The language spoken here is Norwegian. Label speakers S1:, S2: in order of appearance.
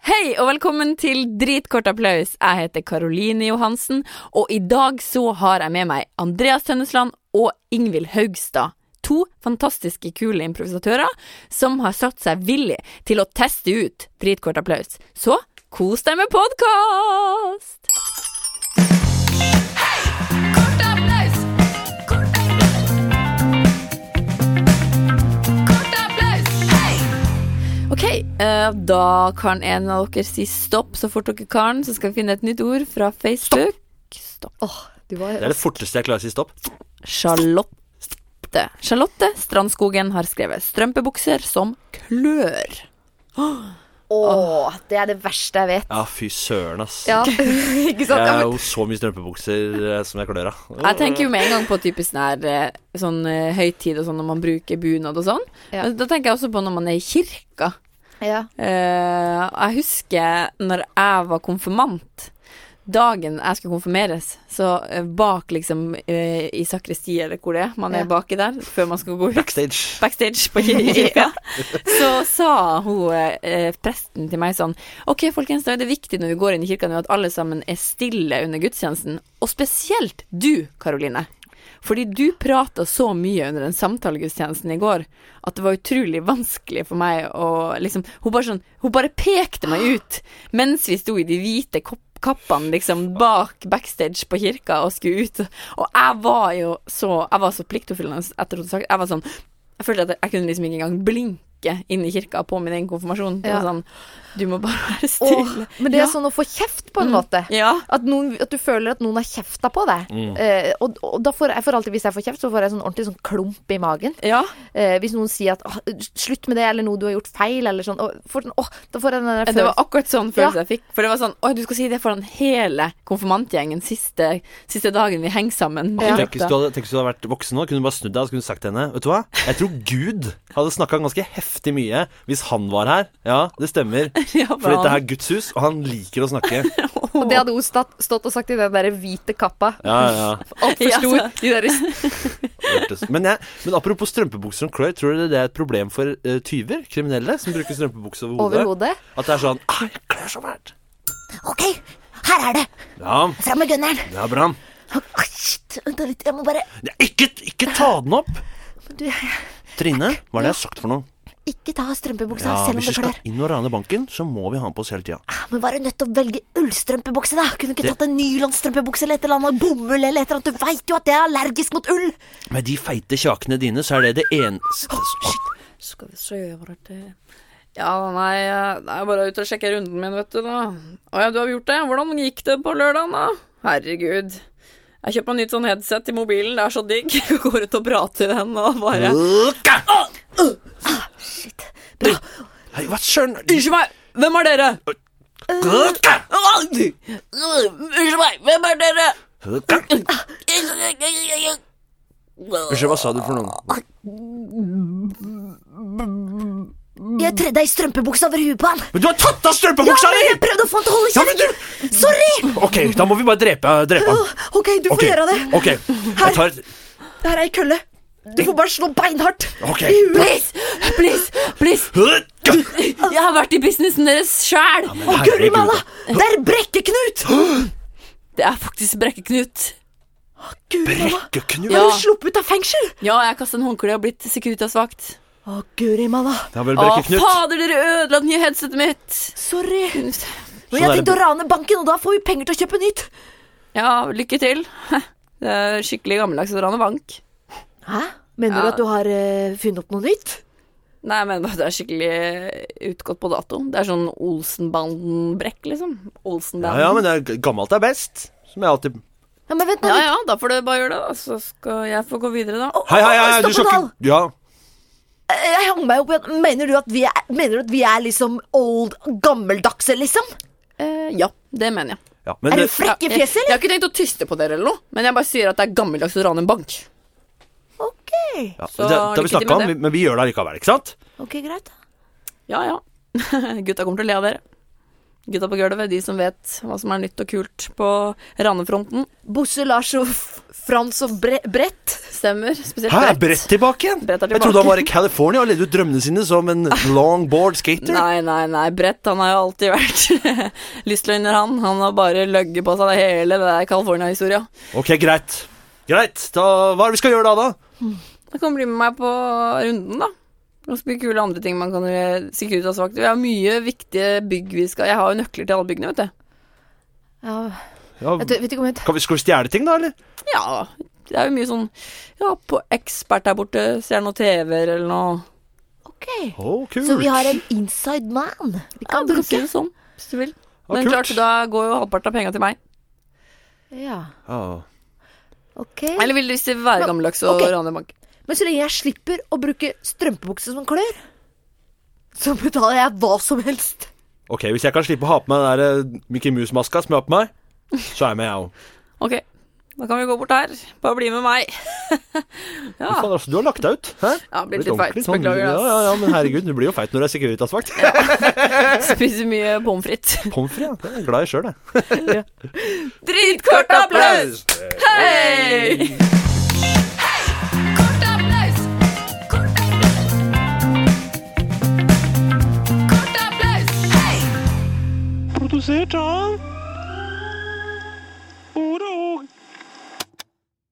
S1: Hei og velkommen til Dritkort applaus. Jeg heter Karoline Johansen, og i dag så har jeg med meg Andreas Tønnesland og Ingvild Haugstad. To fantastiske kule improvisatører som har satt seg villig til å teste ut Dritkort applaus. Så kos deg med podkast! Ok, eh, da kan en av dere si stopp så fort dere kan, så skal vi finne et nytt ord fra Facebook. Stopp.
S2: Du var
S3: Det er det forteste jeg klarer å si stopp.
S1: Charlotte. Charlotte Strandskogen har skrevet strømpebukser som klør.
S2: Åh, det er det verste jeg vet.
S3: Ja, fy søren, ass.
S2: Ja, ikke sant?
S3: Jeg
S2: Ja,
S3: har
S2: men,
S3: jo så mye strømpebukser eh, som jeg klør av.
S1: Jeg tenker jo med en gang på typisk sånn her, eh, sånn eh, høytid og sånn når man bruker bunad og sånn.
S2: Ja.
S1: Men Da tenker jeg også på når man er i kirka.
S2: ja.
S1: Eh, jeg husker når jeg var konfirmant. Dagen jeg skulle konfirmeres, så eh, bak liksom eh, i sakristiet eller hvor det er, man er
S2: Ja.
S1: baki der før man skal gå ut.
S3: Backstage.
S1: backstage på kirka, så sa hun eh, presten til meg sånn Ok, folkens, da er det viktig når vi går inn i kirka nå at alle sammen er stille under gudstjenesten, og spesielt du, Karoline. Fordi du prata så mye under den samtalegudstjenesten i går at det var utrolig vanskelig for meg å liksom Hun bare sånn Hun bare pekte meg ut mens vi sto i de hvite kopp kappene liksom bak backstage på kirka og skulle ut. Og jeg var jo så Jeg var så pliktoppfyllende etter at hun hadde sagt Jeg var sånn Jeg følte at jeg kunne liksom ikke engang blinke inn i kirka på min egen konfirmasjon. Det
S2: Ja.
S1: var sånn Du må bare være
S2: Åh,
S1: stille.
S2: men det
S1: Ja.
S2: er sånn å få kjeft, på en måte.
S1: Ja.
S2: At, noen, at du føler at noen har kjefta på deg.
S4: Mm.
S2: Eh, og, og da får jeg for alltid, hvis jeg får kjeft, så får jeg sånn ordentlig sånn klump i magen.
S1: Ja.
S2: Eh, hvis noen sier at «Åh, 'slutt med det', eller 'noe du har gjort feil', eller sånn. Og, får sånn, åh, da får jeg den der
S1: Det var
S2: følelsen.
S1: akkurat sånn følelse jeg fikk. For det var sånn Oi, du skal si det foran hele konfirmantgjengen siste, siste dagen vi henger sammen.
S2: Ja.
S3: Tenk hvis, du hadde, tenk hvis du hadde vært voksen nå, kunne du bare snudd deg og så kunne du sagt til henne Vet du hva, jeg tror Gud hadde snakka ganske heftig mye hvis han var her. Ja, det stemmer.
S1: Ja,
S3: For dette er Guds hus, og han liker å snakke.
S2: Og det hadde hun stått, stått og sagt i den der hvite kappa.
S3: Ja, ja.
S2: Altfor
S1: Ja,
S2: stor.
S1: så-
S2: De der,
S3: Hørtes. Men, jeg, men apropos strømpebukser som klør, tror dere det er et problem for eh, tyver? Kriminelle som bruker strømpebukse over hodet?
S2: over hodet.
S3: At det er sånn ah, 'Jeg klør så fælt'.
S4: Ok, her er det.
S3: Ja,
S4: Fram med gunneren.
S3: det er bra.
S4: Oi, shit, Vent da litt, jeg må bare
S3: Ja, ikke, ikke ta den opp!
S4: du-
S3: Trine, hva er det jeg har sagt for noe?
S4: Ikke ta av strømpebuksa
S3: Ja,
S4: selv om
S3: Hvis vi
S4: det
S3: skal
S4: klør.
S3: inn og rane banken, så må vi ha den på oss hele tida.
S4: Ah, Men var du nødt til å velge ullstrømpebukse, da? Kunne du ikke
S3: Det-
S4: tatt en nylonstrømpebukse eller et eller annet bomull eller et eller annet? Du veit jo at jeg er allergisk mot ull!
S3: Med de feite kjakene dine, så er det det eneste
S1: Skal vi se var det Ja, nei, jeg er bare ute og sjekker runden min, vet du da. Å ja, du har gjort det? Hvordan gikk det på lørdagen, da? Herregud. Jeg kjøpte meg nytt sånn headset til mobilen, det er så digg. Jeg går ut og prater i den og bare
S3: Hei, hva søren
S1: Unnskyld meg, hvem er dere? Unnskyld meg, hvem er dere?
S3: Unnskyld, hva sa du for noe?
S4: Jeg tredde ei strømpebukse over huet på han.
S3: Men du har tatt av
S4: Ja,
S3: strømpebuksa
S4: men jeg
S3: di!
S4: prøvde å få han til å holde
S3: Ja, men
S4: kjeft! Sorry!
S3: OK, da må vi bare drepe, drepe han.
S4: Ok, du får
S3: Ok,
S4: gjøre det.
S3: OK. Jeg tar
S4: Det her er ei kølle. Du får bare slå beinhardt
S3: Ok.
S4: i huet.
S1: Please, please, please. Jeg har vært i businessen deres sjæl.
S4: Å, guri malla! Det er Brekke-Knut!
S1: Det er faktisk Brekke-Knut.
S4: Guri malla!
S3: Brekkeknut.
S1: Ja.
S4: Har du sluppet ut av fengsel?
S1: Ja, jeg kasta en håndkle og blitt Securitas-vakt.
S4: Å, guri malla.
S3: Ja vel,
S1: Å,
S3: Brekkeknut.
S1: fader, dere ødela det nye headsetet mitt.
S4: Sorry. Men
S3: Sånn
S4: jeg
S3: er det
S4: tenkte å rane banken, og da får vi penger til å kjøpe nytt.
S1: Ja, lykke til. Det er skikkelig gammeldags å rane bank.
S4: Hæ? Mener
S1: Ja.
S4: du at du har eh, funnet opp noe nytt?
S1: Nei, men det er skikkelig utgått på dato. Det er sånn Olsenbanden-brekk, liksom.
S3: Ja,
S1: Olsenbanden.
S3: ja, men det er g- gammelt er best. Som jeg alltid
S4: Ja, men vent nå
S1: ja,
S4: litt.
S1: ja, da får du bare gjøre det, da. Så skal jeg få gå videre, da.
S3: Hei, hei, hei, du
S4: Stopp
S3: skal
S4: en
S3: ikke Ja.
S4: Eh, Jeg hang meg opp igjen. Mener du at vi er, mener du at vi er liksom old, gammeldagse, liksom?
S1: Eh, ja, det mener jeg.
S3: ja. Men
S4: Er du
S3: det,
S4: frekk i
S1: jeg, jeg,
S4: fjeset,
S1: jeg har ikke tenkt å tyste på dere eller noe, men jeg bare sier at det er gammeldags å rane en bank.
S4: eller? Ok.
S3: ja,
S1: så
S3: det, det har
S1: lykke
S3: vi
S1: til med
S3: snakka om,
S1: det.
S3: vi- men vi gjør det allikevel, ikke sant?
S4: Ok, greit.
S1: Ja, ja. Gutta kommer til å le av dere. Gutta på gulvet, de som vet hva som er nytt og kult på ranefronten.
S2: Bosse, Lars og F- Frans og Bre Brett.
S1: Stemmer. Spesielt
S3: Hæ, er Brett tilbake igjen?
S1: Brett er
S3: Jeg trodde
S1: tilbake.
S3: han var i California og levde ut drømmene sine som en longboard skater.
S1: Nei, nei, nei. Brett han har jo alltid vært lystløgner, han. Han har bare løgget på seg det hele det der California-historia.
S3: Ok, greit. Greit. Da, hva er det vi skal gjøre da, da?
S1: Da kan du bli med meg på runden, da. Og så mye kule andre ting man kan gjøre. Sikkerhetsvakt. Vi har mye viktige bygg vi skal Jeg har jo nøkler til alle byggene, vet du.
S2: Ja,
S3: Ja,
S2: vet, du, vet du ikke om jeg
S3: kan vi, skal vi stjele ting, da, eller?
S1: Ja. Det er jo mye sånn Ja, på Ekspert der borte ser jeg noen TV-er eller noe.
S2: Ok.
S3: Å, kult.
S4: Så vi har en inside man. Vi
S1: Ja,
S4: kan
S1: du kan si
S4: bruke.
S1: det sånn, hvis du vil.
S3: Ja,
S1: Men
S3: kult.
S1: klart, da går jo halvparten av penga til meg.
S2: Ja.
S3: Ja.
S2: Ok.
S1: Eller vil du hvis det vil være gammeldags og
S2: ok.
S1: rane en bank?
S2: Men så lenge jeg slipper å bruke strømpebukse som klør
S4: Så betaler jeg hva som helst.
S3: Ok, hvis jeg kan slippe å ha på meg den der eh, Mickey Mouse-maska som jeg har på meg, så er jeg med, jeg òg.
S1: Ok, da kan vi gå bort her. Bare bli med meg. ja.
S3: Faen, altså, Du har lagt deg ut. Hæ?
S1: Ja, blitt
S3: Blitt
S1: litt feit.
S3: ordentlig sånn-
S1: Beklager,
S3: Ja, ja, ja, men herregud, du blir jo feit når du er Securitas-vakt.
S1: ass. Spiser mye pommes frites.
S3: Pommes frites, ja. Det er jeg glad i sjøl, jeg.
S1: Dritkort applaus! Hei!
S5: produzir, John.